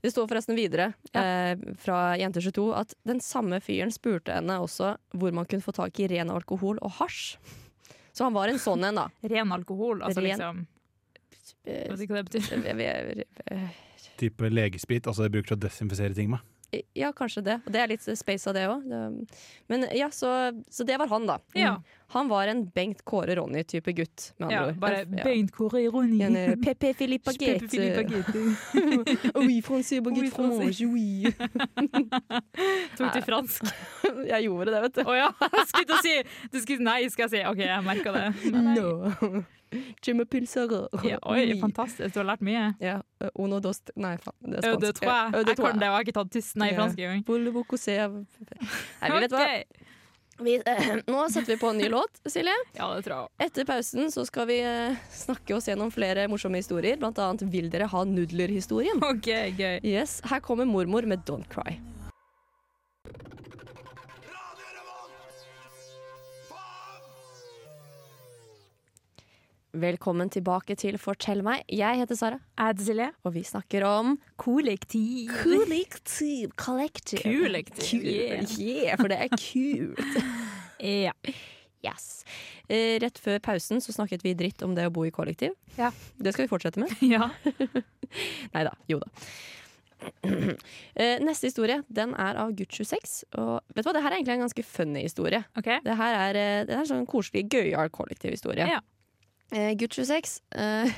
Det står forresten videre eh, fra jente 22 at den samme fyren spurte henne også hvor man kunne få tak i ren alkohol og hasj. Så han var en sånn en, da. Ren alkohol, altså Ren- liksom. Jeg Eh, vet ikke hva det betyr. Type legesprit, altså det bruker til å desinfisere ting med. Ja, kanskje det. Og det er litt space av det òg. Men ja, så, så det var han, da. Ja. Han var en Bengt Kåre Ronny-type gutt, med Mm. andre Ja, ord. bare Ja. Bengt Kåre Ironi. En, eh, Pepe Filippa Pepe Gate. Filippagetti. Oui, français, Oui, baguette français. fromage, oui. Tok til fransk. Jeg gjorde det, vet Å ja! Skulle til å si Du skulle nei, skal jeg si. OK, jeg merka det. du. Men nei. No. Je m'appelle Sarah. Ja, oi, Oui. fantastisk. Du har lært mye. Ja, eh, Uno dos Nei, faen. Det er Au de spansk. trois. Ja, Au de Jeg trois. kan det, og jeg har ikke tatt tyst nei i Ja. fransk engang. Boule, boco, se. Nei, vi vet hva. Ok. Vi, eh, nå setter vi på en ny låt, Silje. Ja, det tror jeg også. Etter pausen så skal vi eh, snakke oss gjennom flere morsomme historier, blant annet Vil dere ha nudler-historien? OK, gøy. Yes, her kommer mormor med Don't Cry. Velkommen tilbake til Fortell meg. Jeg heter Sara, Jeg heter Silje. og vi snakker om Kollektiv. Kollektiv. Kollektiv. Kollektiv, Yeah. for det er kult. Ja. Yes. Eh, Rett før pausen så snakket vi dritt om det å bo i kollektiv. Ja. Det skal vi fortsette med. ja. Nei da. Jo da. Eh, Neste historie den er av Gucci 6. Og vet du hva, det her er egentlig en ganske funny historie. OK. Det her er, eh, det er en sånn koselig, gøyal kollektivhistorie. Ja. Eh, Gucci 6 eh,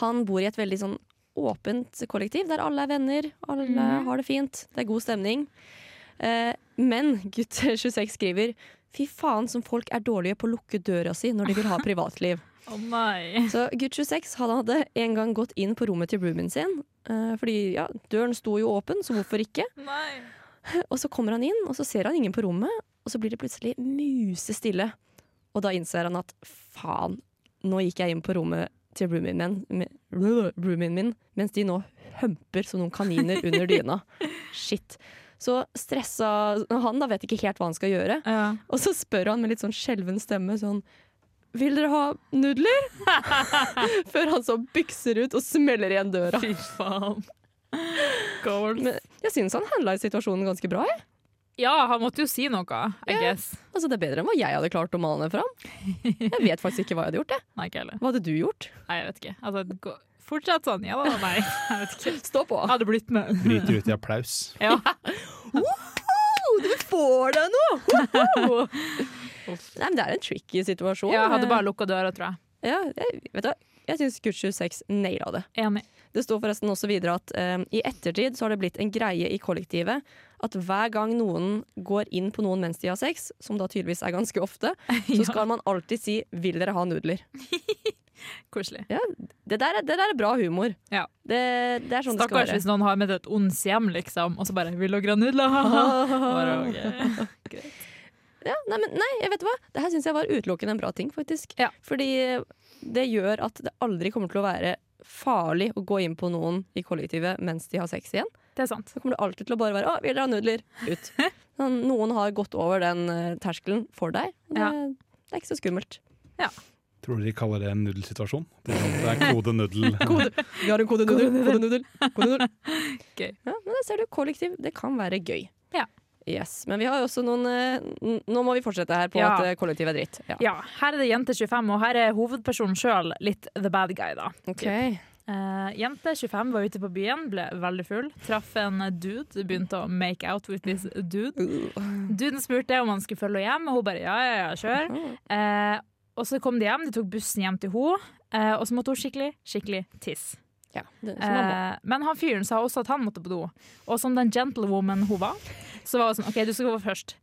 han bor i et veldig sånn åpent kollektiv der alle er venner, alle Mhm. har det fint, det er god stemning. Eh, men gutt 26 skriver Fy faen som folk er dårlige på å lukke døra si når de vil ha privatliv. Å nei. Så gutt 26 han hadde en gang gått inn på rommet til roomien sin. eh, fordi ja, døren sto jo åpen, så hvorfor ikke? Nei. Og så kommer han inn, og så ser han ingen på rommet, og så blir det plutselig musestille. Og da innser han at faen, nå gikk jeg inn på rommet til roomien min, med- roomien min mens de nå hømper som noen kaniner under dyna. Shit. Så stressa han, da vet ikke helt hva han skal gjøre. Ja. Og så spør han med litt sånn skjelven stemme sånn Vil dere ha nudler? Før han så bykser ut og smeller igjen døra. Fy faen. Goals. Men jeg syns han handla i situasjonen ganske bra. Jeg. Ja, han måtte jo si noe, I guess. Altså Det er bedre enn hva jeg hadde klart å male ned fram. Jeg vet faktisk ikke hva jeg hadde gjort. Jeg. Nei, ikke heller. Hva hadde du gjort? Nei, jeg vet ikke. Altså, gå- fortsett sånn. Ja da, nei. Jeg vet ikke. Stå på! Jeg hadde blitt med. Bryter ut i applaus. Ja. Du får deg noe! Nei, men Det er en tricky situasjon. Jeg hadde bare lukka døra, tror jeg. Ja, jeg, vet du hva? Jeg syns Gucci 6 naila det. Enig. Det står forresten også videre at eh, i ettertid så har det blitt en greie i kollektivet at hver gang noen går inn på noen mens de har sex, som da tydeligvis er ganske ofte, så skal man alltid si 'vil dere ha nudler'. Koselig. Det der er, det der er bra humor. Ja. Det, det er sånn Stakkars det hvis noen har med et ons hjem, liksom, og så bare 'Vil dere ha nudler?' Bare, skal være. ok. Ja, nei, men nei, jeg vet hva. Det her syns jeg var utelukkende en bra ting, faktisk. Ja. Fordi eh, det gjør at det aldri kommer til å være farlig å gå inn på noen i kollektivet mens de har sex igjen. Det er sant. Så kommer det alltid til å bare være 'Å, vil dere ha nudler?' Ut. Sånn, noen har gått over den eh, terskelen for deg. Det, Ja. det er ikke så skummelt. Tror du de kaller det en nudelsituasjon? Det er sånn- det er kode nuddel. Vi har en kode nudel, kode nudel, kode nudel. Gøy. Ja, men det ser du, kollektiv, det kan være gøy. Ja. Yes, Men vi har jo også noen eh, n- Nå må vi fortsette her på Ja. at eh, kollektiv er dritt. Ja. Ja, her er det jente 25, og her er hovedpersonen sjøl litt the bad guy, da. Eh, jente 25 var ute på byen, ble veldig full. Traff en dude, begynte å make out with this dude. Uh. Duden spurte om han skulle følge henne hjem, og hun bare ja, ja, ja, kjør. Mm. Eh, og så kom de hjem, de tok bussen hjem til henne, eh, og så måtte hun skikkelig, skikkelig tisse. Ja, det, sånn er det. Eh, men han fyren sa også at han måtte på do. Og som den gentlewoman hun var, så var hun sånn OK, du skal gå først.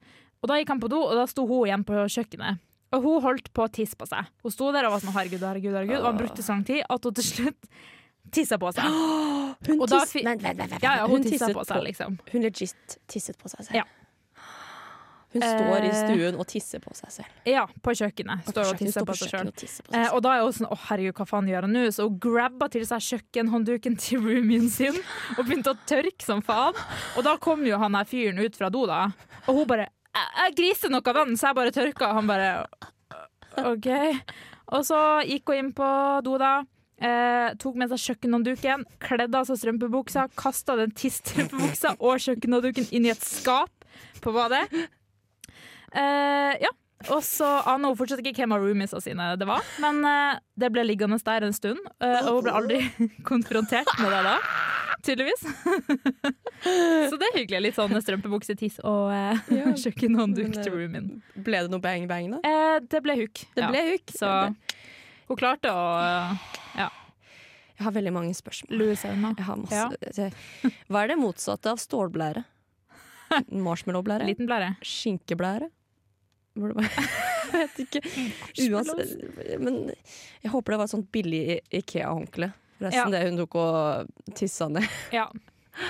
Og da gikk han på do, og da sto hun igjen på kjøkkenet. Og hun holdt på å tisse på seg. Hun sto der og var sånn herregud, herregud, herregud. Og han brukte Ah. så lang tid at hun til slutt tissa på seg. Hun, Eh, Og da tiss- fi- Vent, vent, vent, vent. Ja, ja, hun, tissa tisset på seg, liksom. Hun legit tisset på seg selv. Ja. Hun står i Eh, stuen og tisser på seg selv. Ja, på kjøkkenet. Står Hun og tisser står på på seg kjøkkenet sjøl. og tisser på seg Eh, selv. og da er hun sånn 'Å, herregud, hva faen gjør jeg nå?' Så hun grabba til seg kjøkkenhåndduken til roomien sin og begynte å tørke som faen. Og da kom jo han her fyren ut fra do, da. Og hun bare 'Jeg, jeg griser noe vann, så jeg bare tørker'. Og han bare OK. Og så gikk hun inn på do, da. Eh, tok med seg kjøkkenhåndduken, kledde av seg strømpebuksa, kasta den tiss-strømpebuksa og kjøkkenhåndduken inn i et skap på badet. Eh, ja, Og så aner hun fortsatt ikke hvem av roomiesa sine det var, men eh, det ble liggende der en stund, eh, og hun ble aldri konfrontert med det da. Tydeligvis. så det er hyggelig. Litt sånn strømpebukse, tiss og eh, Ja, kjøkkenhåndduk men, eh, til roomien. Ble det noe bang-bang, da? Eh, det ble hook. Det ble hook. Så hun klarte å eh, Jeg har veldig mange spørsmål. lure seg unna. Jeg har masse. Hva er det motsatte av stålblære? Marshmallowblære? Liten blære. Skinkeblære? Hvor det var- Jeg vet ikke. Uansett, men jeg håper det var et sånt billig I- Ikea-håndkle. Forresten, det hun tok og tissa ned. Ja.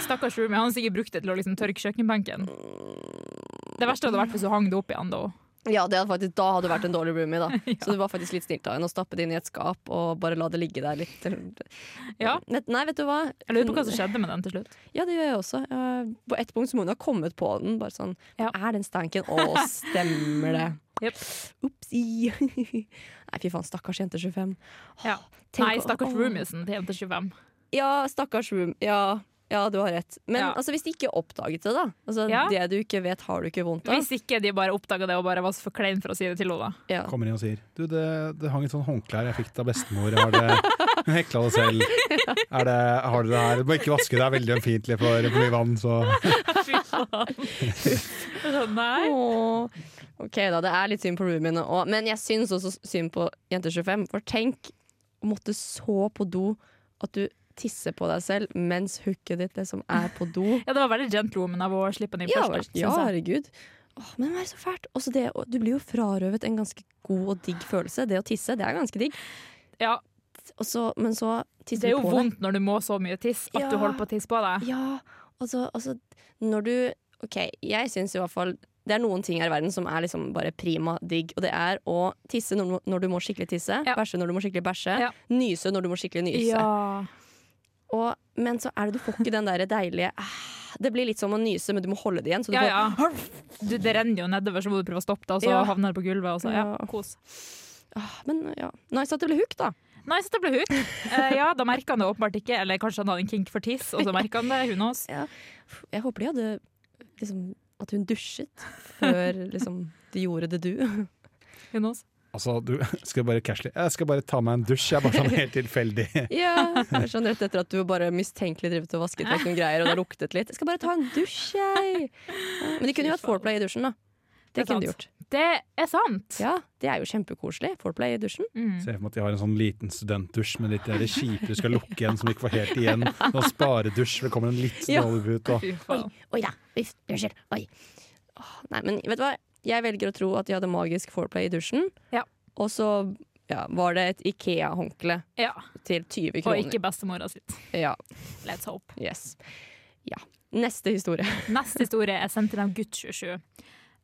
Stakkars roomie. Han har sikkert brukt det til å liksom tørke kjøkkenbenken. Det verste hadde vært hvis hun hang det opp igjen da. Ja, det hadde faktisk, da hadde det vært en dårlig roomie, da. Så det var faktisk litt snilt av henne å stappe det inn i et skap og bare la det ligge der litt. Ja. Nei, Nei, vet du hva? Jeg lurer på hva som skjedde med den til slutt. Ja, det gjør jeg også. Eh, På et punkt så må hun ha kommet på den. Bare sånn Ja. Er den stanken? Å, stemmer det. Jep. Opsi. Nei, fy faen, stakkars jente 25. Ja. Tenk Nei, å- stakkars åh. roomiesen til jente 25. Ja, stakkars room. Ja, ja du har rett. Men Ja. altså, hvis de ikke oppdaget det, da. Altså, Ja. Det du ikke vet, har du ikke vondt av. Hvis ikke de bare oppdaga det og bare var så for klein for å si det til henne, da. Ja. Kommer inn og sier Du, det, det hang et sånn håndkle her jeg fikk det av bestemor. Jeg har det, hun hekla det selv. Er det, har du det her? Du må ikke vaske det, det er veldig ømfintlig for for mye vann, så Fy faen. Nei. Åh. Ok, da. Det er litt synd på roomiene òg. Men jeg syns også synd på jente 25. For tenk å måtte så på do at du tisser på deg selv mens hooket ditt liksom er på do. Ja, det var veldig gentlewoman av å slippe den inn Ja, først. da, vær- ja synes jeg. herregud. Åh, men det er så fælt. Også det, å- du blir jo frarøvet en ganske god og digg følelse. Det å tisse, det er ganske digg. ja, Og så- men så tisser det er du på jo deg. vondt når du må så mye tiss at du Ja. holder på å tisse på deg. Ja, altså, altså Når du OK, jeg syns i hvert fall det er noen ting her i verden som er liksom bare prima digg, og det er å tisse når, du må- når du må skikkelig tisse, Ja. bæsje når du må skikkelig bæsje, Ja. nyse når du må skikkelig nyse. Ja. Og, men så er det du får ikke den der deilige ah, Det blir litt som å nyse, men du må holde det igjen. Så du ja, får, ja. Du, det renner jo nedover, så må du prøve å stoppe det, og så Ja. havner det på gulvet. Og så, ja, Ja. kos. Ah, men ja. Nice at det ble hook, da. Nice at det ble hook. Eh, ja, da merka han det åpenbart ikke. Eller kanskje han hadde en kink for tiss, og så merka han det. Hun knows. Jeg håper de hadde liksom At hun dusjet før liksom de gjorde det du. Who knows? Altså, du skal bare casually Jeg skal bare ta meg en dusj, jeg er bare sånn helt tilfeldig. Ja, det var sånn Rett etter at du bare mistenkelig drevet og vasket vekk noen greier, og det luktet litt. Jeg skal bare ta en dusj, jeg. Men de kunne jo hatt foreplay i dusjen, da. Det, Det er kunne de sant. gjort. Det er sant. Ja, Det er jo kjempekoselig. Foreplay i dusjen. Mm. Ser for meg at de har en sånn liten studentdusj med litt det kjipe du skal lukke igjen som ikke var helt igjen. Sånn sparedusj, for det kommer en litt Ja. snålv ut. Og. Fy faen. Oi da. Uff, unnskyld. Oi. Åh, nei, men vet du hva? Jeg velger å tro at de hadde magisk foreplay i dusjen. Ja. Og så ja, var det et Ikea-håndkle Ja. til 20 Og kroner. ikke bestemora sitt. Ja, Let's hope. yes. Ja. Neste historie. Neste historie er sendt inn av gutt 27.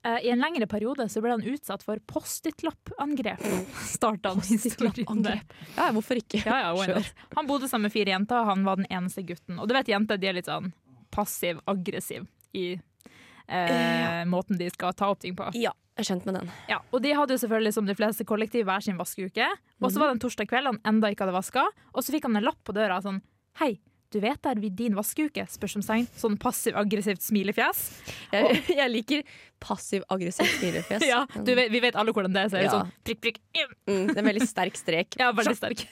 Eh, I en lengre periode så ble han utsatt for Post-It-lapp-angrep. Starta han historien der. Ja, hvorfor ikke? Ja, ja, why Sure. not? Han bodde sammen med fire jenter, og han var den eneste gutten. Og du vet jenter de er litt sånn passiv-aggressiv i eh, måten de skal ta opp ting på. Ja, jeg er kjent med den. Ja, og de hadde jo selvfølgelig som de fleste kollektiv hver sin vaskeuke. Og så var det en torsdag kveld han enda ikke hadde vaska, og så fikk han en lapp på døra sånn Hei, du vet det er vid din vaskeuke? Spørsmålstegn. Sånn passiv-aggressivt smilefjes. Jeg, jeg liker passiv-aggressiv smilefjes. Ja, du, vet- vi vet alle hvordan det er. Så er det Ja. sånn prikk, prikk. im. Mm, det er en veldig sterk strek. Ja, veldig sterk.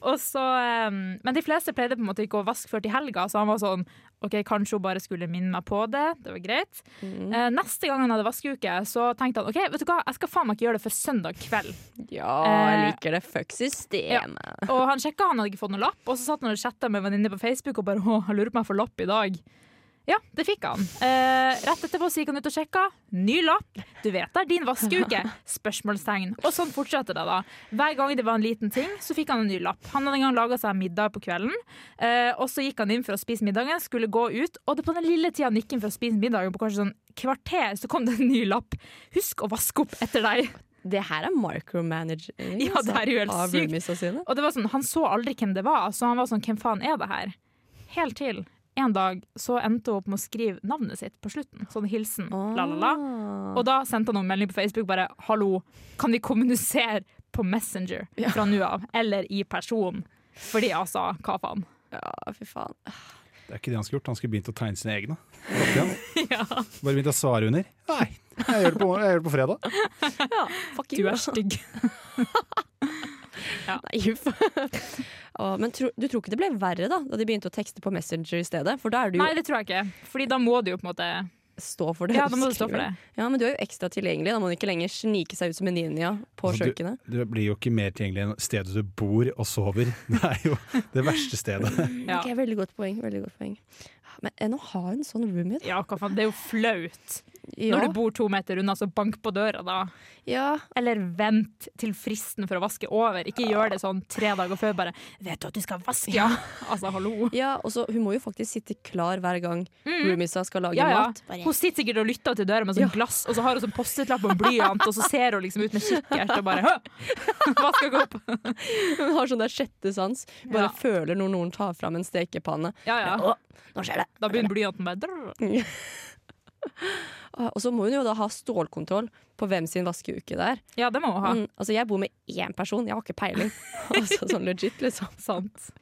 og så, um, men de fleste pleide på en måte ikke å vaske før til helga, så han var sånn OK, kanskje hun bare skulle minne meg på det. Det var greit. Eh, neste gang han hadde vaskeuke, så tenkte han OK, vet du hva, jeg skal faen meg ikke gjøre det før søndag kveld. Ja, jeg Eh, liker det. Fuck systemet. Og han sjekka, han hadde ikke fått noen lapp. Og så satt han og chatta med en venninne på Facebook og bare 'Å, jeg lurer på om jeg får lapp i dag'. Ja, det fikk han. Eh, rett etterpå så gikk han ut og sjekka. Ny lapp. Du vet det er din vaskeuke? Spørsmålstegn. Og sånn fortsatte det, da. Hver gang det var en liten ting, så fikk han en ny lapp. Han hadde en gang laga seg middag på kvelden, eh, og så gikk han inn for å spise middagen, skulle gå ut, og det på den lille tida han gikk inn for å spise middagen, på kanskje sånn kvarter, så kom det en ny lapp. Husk å vaske opp etter deg. Det her er micromanaging altså. Ja, det er jo helt av sykt. roomiesa sine. Og det var sånn, Han så aldri hvem det var, så han var sånn Hvem faen er det her? Helt til en dag så endte hun opp med å skrive navnet sitt på slutten. Sånn hilsen. La, la, la. Ah. Og da sendte han en melding på Facebook bare 'Hallo, kan vi kommunisere på Messenger fra nå av?' Eller i person. Fordi altså, hva faen? Ja, fy faen. Det er ikke det han skulle gjort, han skulle begynt å tegne sine egne. Opp igjen. Bare begynt å svare under. Nei, Jeg gjør det på, jeg gjør det på fredag. Ja, fuck Du you. er stygg. Nei, uff. Å, men tro, du tror ikke det ble verre da Da de begynte å tekste på Messenger i stedet? For da er du jo Nei, det tror jeg ikke. Fordi da må du jo på en måte stå for det. Ja, da må du stå skriver. for det. Ja, men du er jo ekstra tilgjengelig. Da må du ikke lenger snike seg ut som en ninja på Altså, kjøkkenet. Du blir jo ikke mer tilgjengelig enn stedet du bor og sover. Det er jo det verste stedet. Ja. Ok, veldig godt poeng. Veldig godt poeng. Men enn å ha en sånn roommate Ja, hva faen, det er jo flaut. Ja. Når du bor to meter unna, så bank på døra da. ja. Eller vent til fristen for å vaske er over. Ikke gjør det sånn tre dager før, bare 'Vet du at du skal vaske?' Ja. Altså, hallo. ja, og så hun må jo faktisk sitte klar hver gang roomiesa skal lage Mhm. Ja, ja. mat. Hun sitter sikkert og lytter til døra med sånn glass, og så har hun sånn Post-It-lapp og en blyant, og så ser hun liksom ut med kikkert og bare «Hø! Vasker ikke opp. Hun har sånn der sjette sans. Bare Ja. føler når noen tar fram en stekepanne. Ja, ja. Å, nå skjer det! Da begynner blyanten bare drrr. Ah, Og så må hun jo da ha stålkontroll på hvem sin vaskeuke det er. Ja, det må hun ha. Mm, altså, jeg bor med én person, jeg har ikke peiling. altså, sånn legit, liksom. Ah. Sant.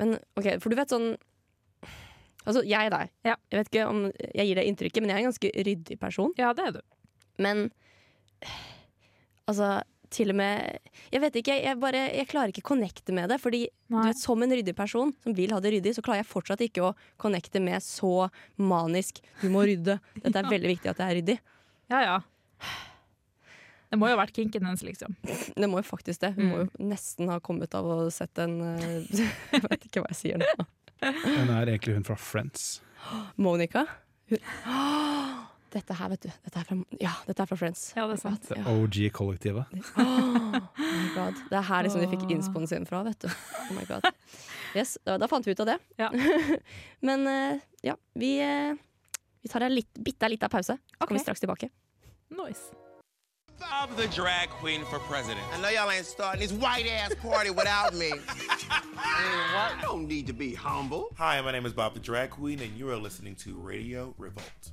Men ok, for du vet sånn Altså, jeg da. Ja. Jeg vet ikke om jeg gir deg inntrykket, men jeg er en ganske ryddig person. Ja, det er du. Men altså til og med Jeg vet ikke, jeg, jeg bare Jeg klarer ikke å connecte med det. Fordi du Nei. vet, som en ryddig person som vil ha det ryddig, så klarer jeg fortsatt ikke å connecte med så manisk 'du må rydde'. Dette er veldig viktig at det er ryddig. Ja, ja. Det må jo ha vært kinken hennes, liksom. Det må jo faktisk det. Hun må Mm. jo nesten ha kommet av å ha sett en eh, Jeg vet ikke hva jeg sier nå. Hun er egentlig hun fra Friends. Monica. Hun, Åh, dette her, vet du. Dette er fra, ja, dette er fra Friends. Ja, det er sant. Det OG-kollektivet. Oh my God. Det er her liksom de fikk innspoen sin fra, vet du. Oh my God. Yes, da, da fant vi ut av det. Ja. Men eh, ja, vi, eh, vi tar en litt, bitte lita pause, så Ok. kommer vi straks tilbake. Nice. Bob the drag queen for president. I know y'all ain't starting this white ass party without me. I don't need to be humble. Hi, my name is Bob the Drag Queen, and you are listening to Radio Revolt.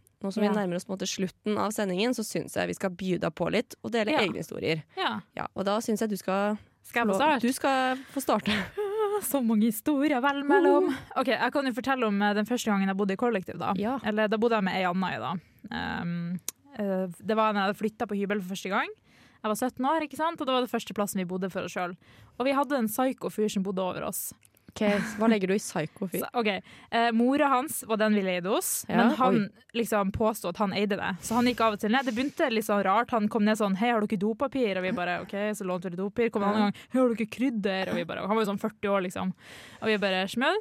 nå som Ja. vi nærmer oss på en måte slutten av sendingen, så syns jeg vi skal bjuda på litt og dele Ja. egne historier. Ja. Ja, og da syns jeg du skal, Skal få jeg på lov- start? du skal få starte. Så mange historier vel mellom. Ok, Jeg kan jo fortelle om eh, den første gangen jeg bodde i kollektiv. Da Ja. Eller da bodde jeg med ei anna. i da Ehm, eh, Det var da jeg flytta på hybel for første gang. Jeg var 17 år, ikke sant? og det var den første plassen vi bodde for oss sjøl. Og vi hadde en psyko fyr som bodde over oss. Ok, Hva legger du i psykofyr? Så, ok, eh, Mora hans var den vi leide hos, Ja, men han liksom påstod at han eide det. Så han gikk av og til ned. Det begynte litt sånn rart. Han kom ned sånn 'Hei, har dere dopapir?' Og vi bare 'OK', så lånte vi dopapir. Kom en annen gang 'Hei, har dere krydder?' Og vi bare, han var jo sånn 40 år, liksom. Og vi bare smøl.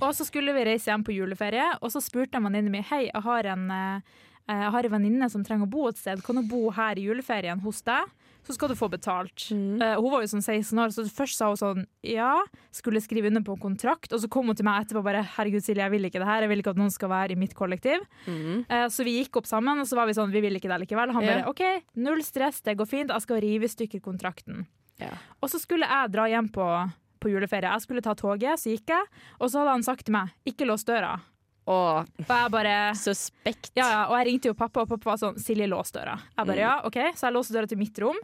Og så skulle vi reise hjem på juleferie, og så spurte jeg venninnen min 'Hei, jeg har en eh, jeg har en venninne som trenger å bo et sted. Kan hun bo her i juleferien hos deg? Så skal du få betalt. Mm. Eh, hun var jo sånn 16 år, så først sa hun sånn ja. Skulle skrive under på en kontrakt, og så kom hun til meg etterpå og bare herregud Silje, jeg vil ikke det her. Jeg vil ikke at noen skal være i mitt kollektiv. Eh, så vi gikk opp sammen, og så var vi sånn vi vil ikke det likevel. Han bare Mm. Ja. OK, null stress, det går fint, jeg skal rive i stykker kontrakten. Ja. Og så skulle jeg dra hjem på, på juleferie. Jeg skulle ta toget, så gikk jeg, og så hadde han sagt til meg ikke lås døra. Og Og jeg bare suspekt. ja, ja, og jeg ringte jo pappa, og pappa var sånn Silje, lås døra. Jeg Mm. bare, ja, ok, Så jeg låste døra til mitt rom,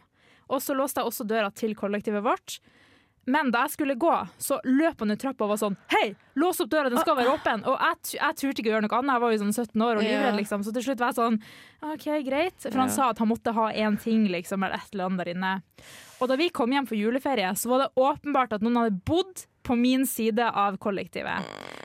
og så låste jeg også døra til kollektivet vårt. Men da jeg skulle gå, så løp han ut trappa og var sånn Hei, lås opp døra, den skal være åpen! Og jeg, tu- jeg turte ikke å gjøre noe annet, jeg var jo sånn 17 år og livredd, Ja. liksom. Så til slutt var jeg sånn OK, greit. For han Ja. sa at han måtte ha én ting, liksom, eller et eller annet der inne. Og da vi kom hjem for juleferie, så var det åpenbart at noen hadde bodd på min side av kollektivet.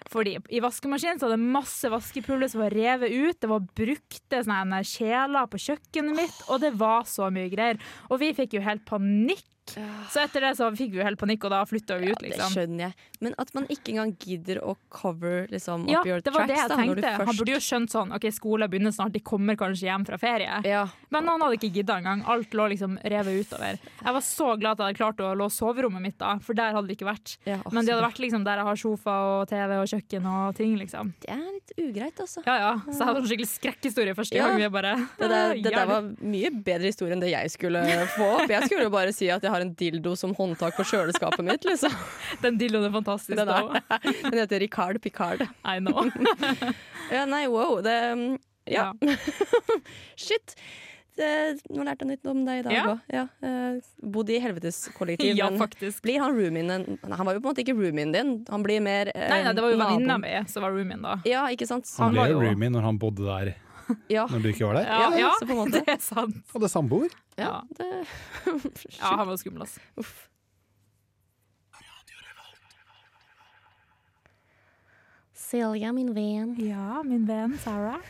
Fordi i vaskemaskinen så var det masse vaskepulver som var revet ut. Det var brukte sånne her kjeler på kjøkkenet mitt, og det var så mye greier. Og vi fikk jo helt panikk. panikk. Så etter det så fikk vi jo helt panikk, og da flytta vi ut, Det liksom. skjønner jeg. Men at man ikke engang gidder å cover liksom, up Ja, your det var det tracks. jeg da, når du tenkte. Han først- burde jo skjønt sånn OK, skolen begynner snart, de kommer kanskje hjem fra ferie. ja. Men han hadde ikke gidda engang. Alt lå liksom revet utover. Jeg var så glad at jeg hadde klart å låse soverommet mitt da, for der hadde vi ikke vært. Ja, altså. å, Men de så hadde bra. vært liksom der jeg har sofa og TV og kjøkken og ting, liksom. Det er litt ugreit, altså. Ja ja. Så jeg hadde en skikkelig skrekkhistorie første Ja. gang. Vi bare Det der, det der Hjelp. var mye bedre historie enn det jeg skulle få opp. Jeg skulle jo bare si at jeg har en dildo som håndtak på kjøleskapet mitt, liksom. Den dildoen er fantastisk. Den, da. er, den heter Ricard Picard. I know. Ja, nei, wow. Det, mm, ja. Ja. Shit. Det, nå lærte jeg nytt om deg i dag Ja. òg. Ja. eh, Bodde i helveteskollektiv. ja, men faktisk. blir han roomien din? Nei, han var jo på en måte ikke roomien din. Han blir mer eh, Nei, nei, det var jo naboen. venninna mi som var roomien da. Ja, ikke sant? Han ble var jo jo- roomie når han bodde der Ja. når du ikke var der. Ja, ja, så på en måte. det er sant. Hadde samboer. Ja, Det, ja han var skummel, altså. uff. Silja, min venn. Ja, min venn Sarah.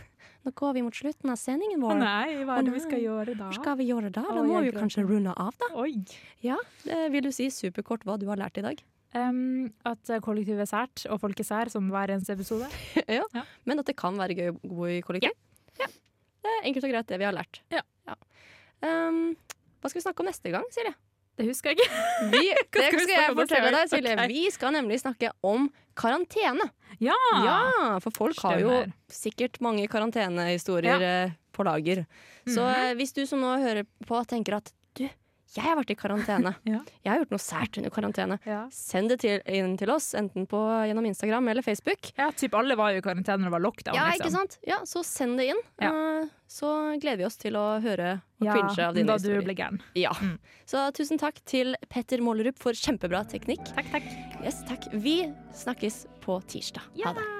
Nå går vi mot slutten av sendingen vår. Nei, hva er det vi Å, skal gjøre da? Hva skal vi gjøre da? Da Å, må vi jeg jo kanskje runde av, da. Oi. Ja, det Vil du si superkort hva du har lært i dag? Um, at kollektivet er sært, og folk er sær, som hver eneste episode. ja. Ja. Men at det kan være gøy å bo i kollektiv? Ja. Det er enkelt og greit det vi har lært. Ja. Um, hva skal vi snakke om neste gang, Silje? Det husker jeg ikke. Vi, det Hva skal skal vi snakke jeg om neste fortelle gang? deg, Silje. Ok. Vi skal nemlig snakke om karantene. Ja! Ja, for folk har jo Stemmer. sikkert mange karantenehistorier eh, på lager. Så Mhm. eh, hvis du som nå hører på tenker at du, jeg har vært i karantene. Ja. Jeg har gjort noe sært under karantene. ja. Send det til, inn til oss, enten på, gjennom Instagram eller Facebook. Ja, typ alle var jo i karantene når det var lockdown. Ja, liksom. ikke sant? Ja, så send det inn. Eh, Så gleder vi oss til å høre og Ja, cringe av dine da du Mm. ble historier. gæren. Ja. Så tusen takk til Petter Målerup for kjempebra teknikk. Takk, takk. Yes, takk. Vi snakkes på tirsdag. Ha det.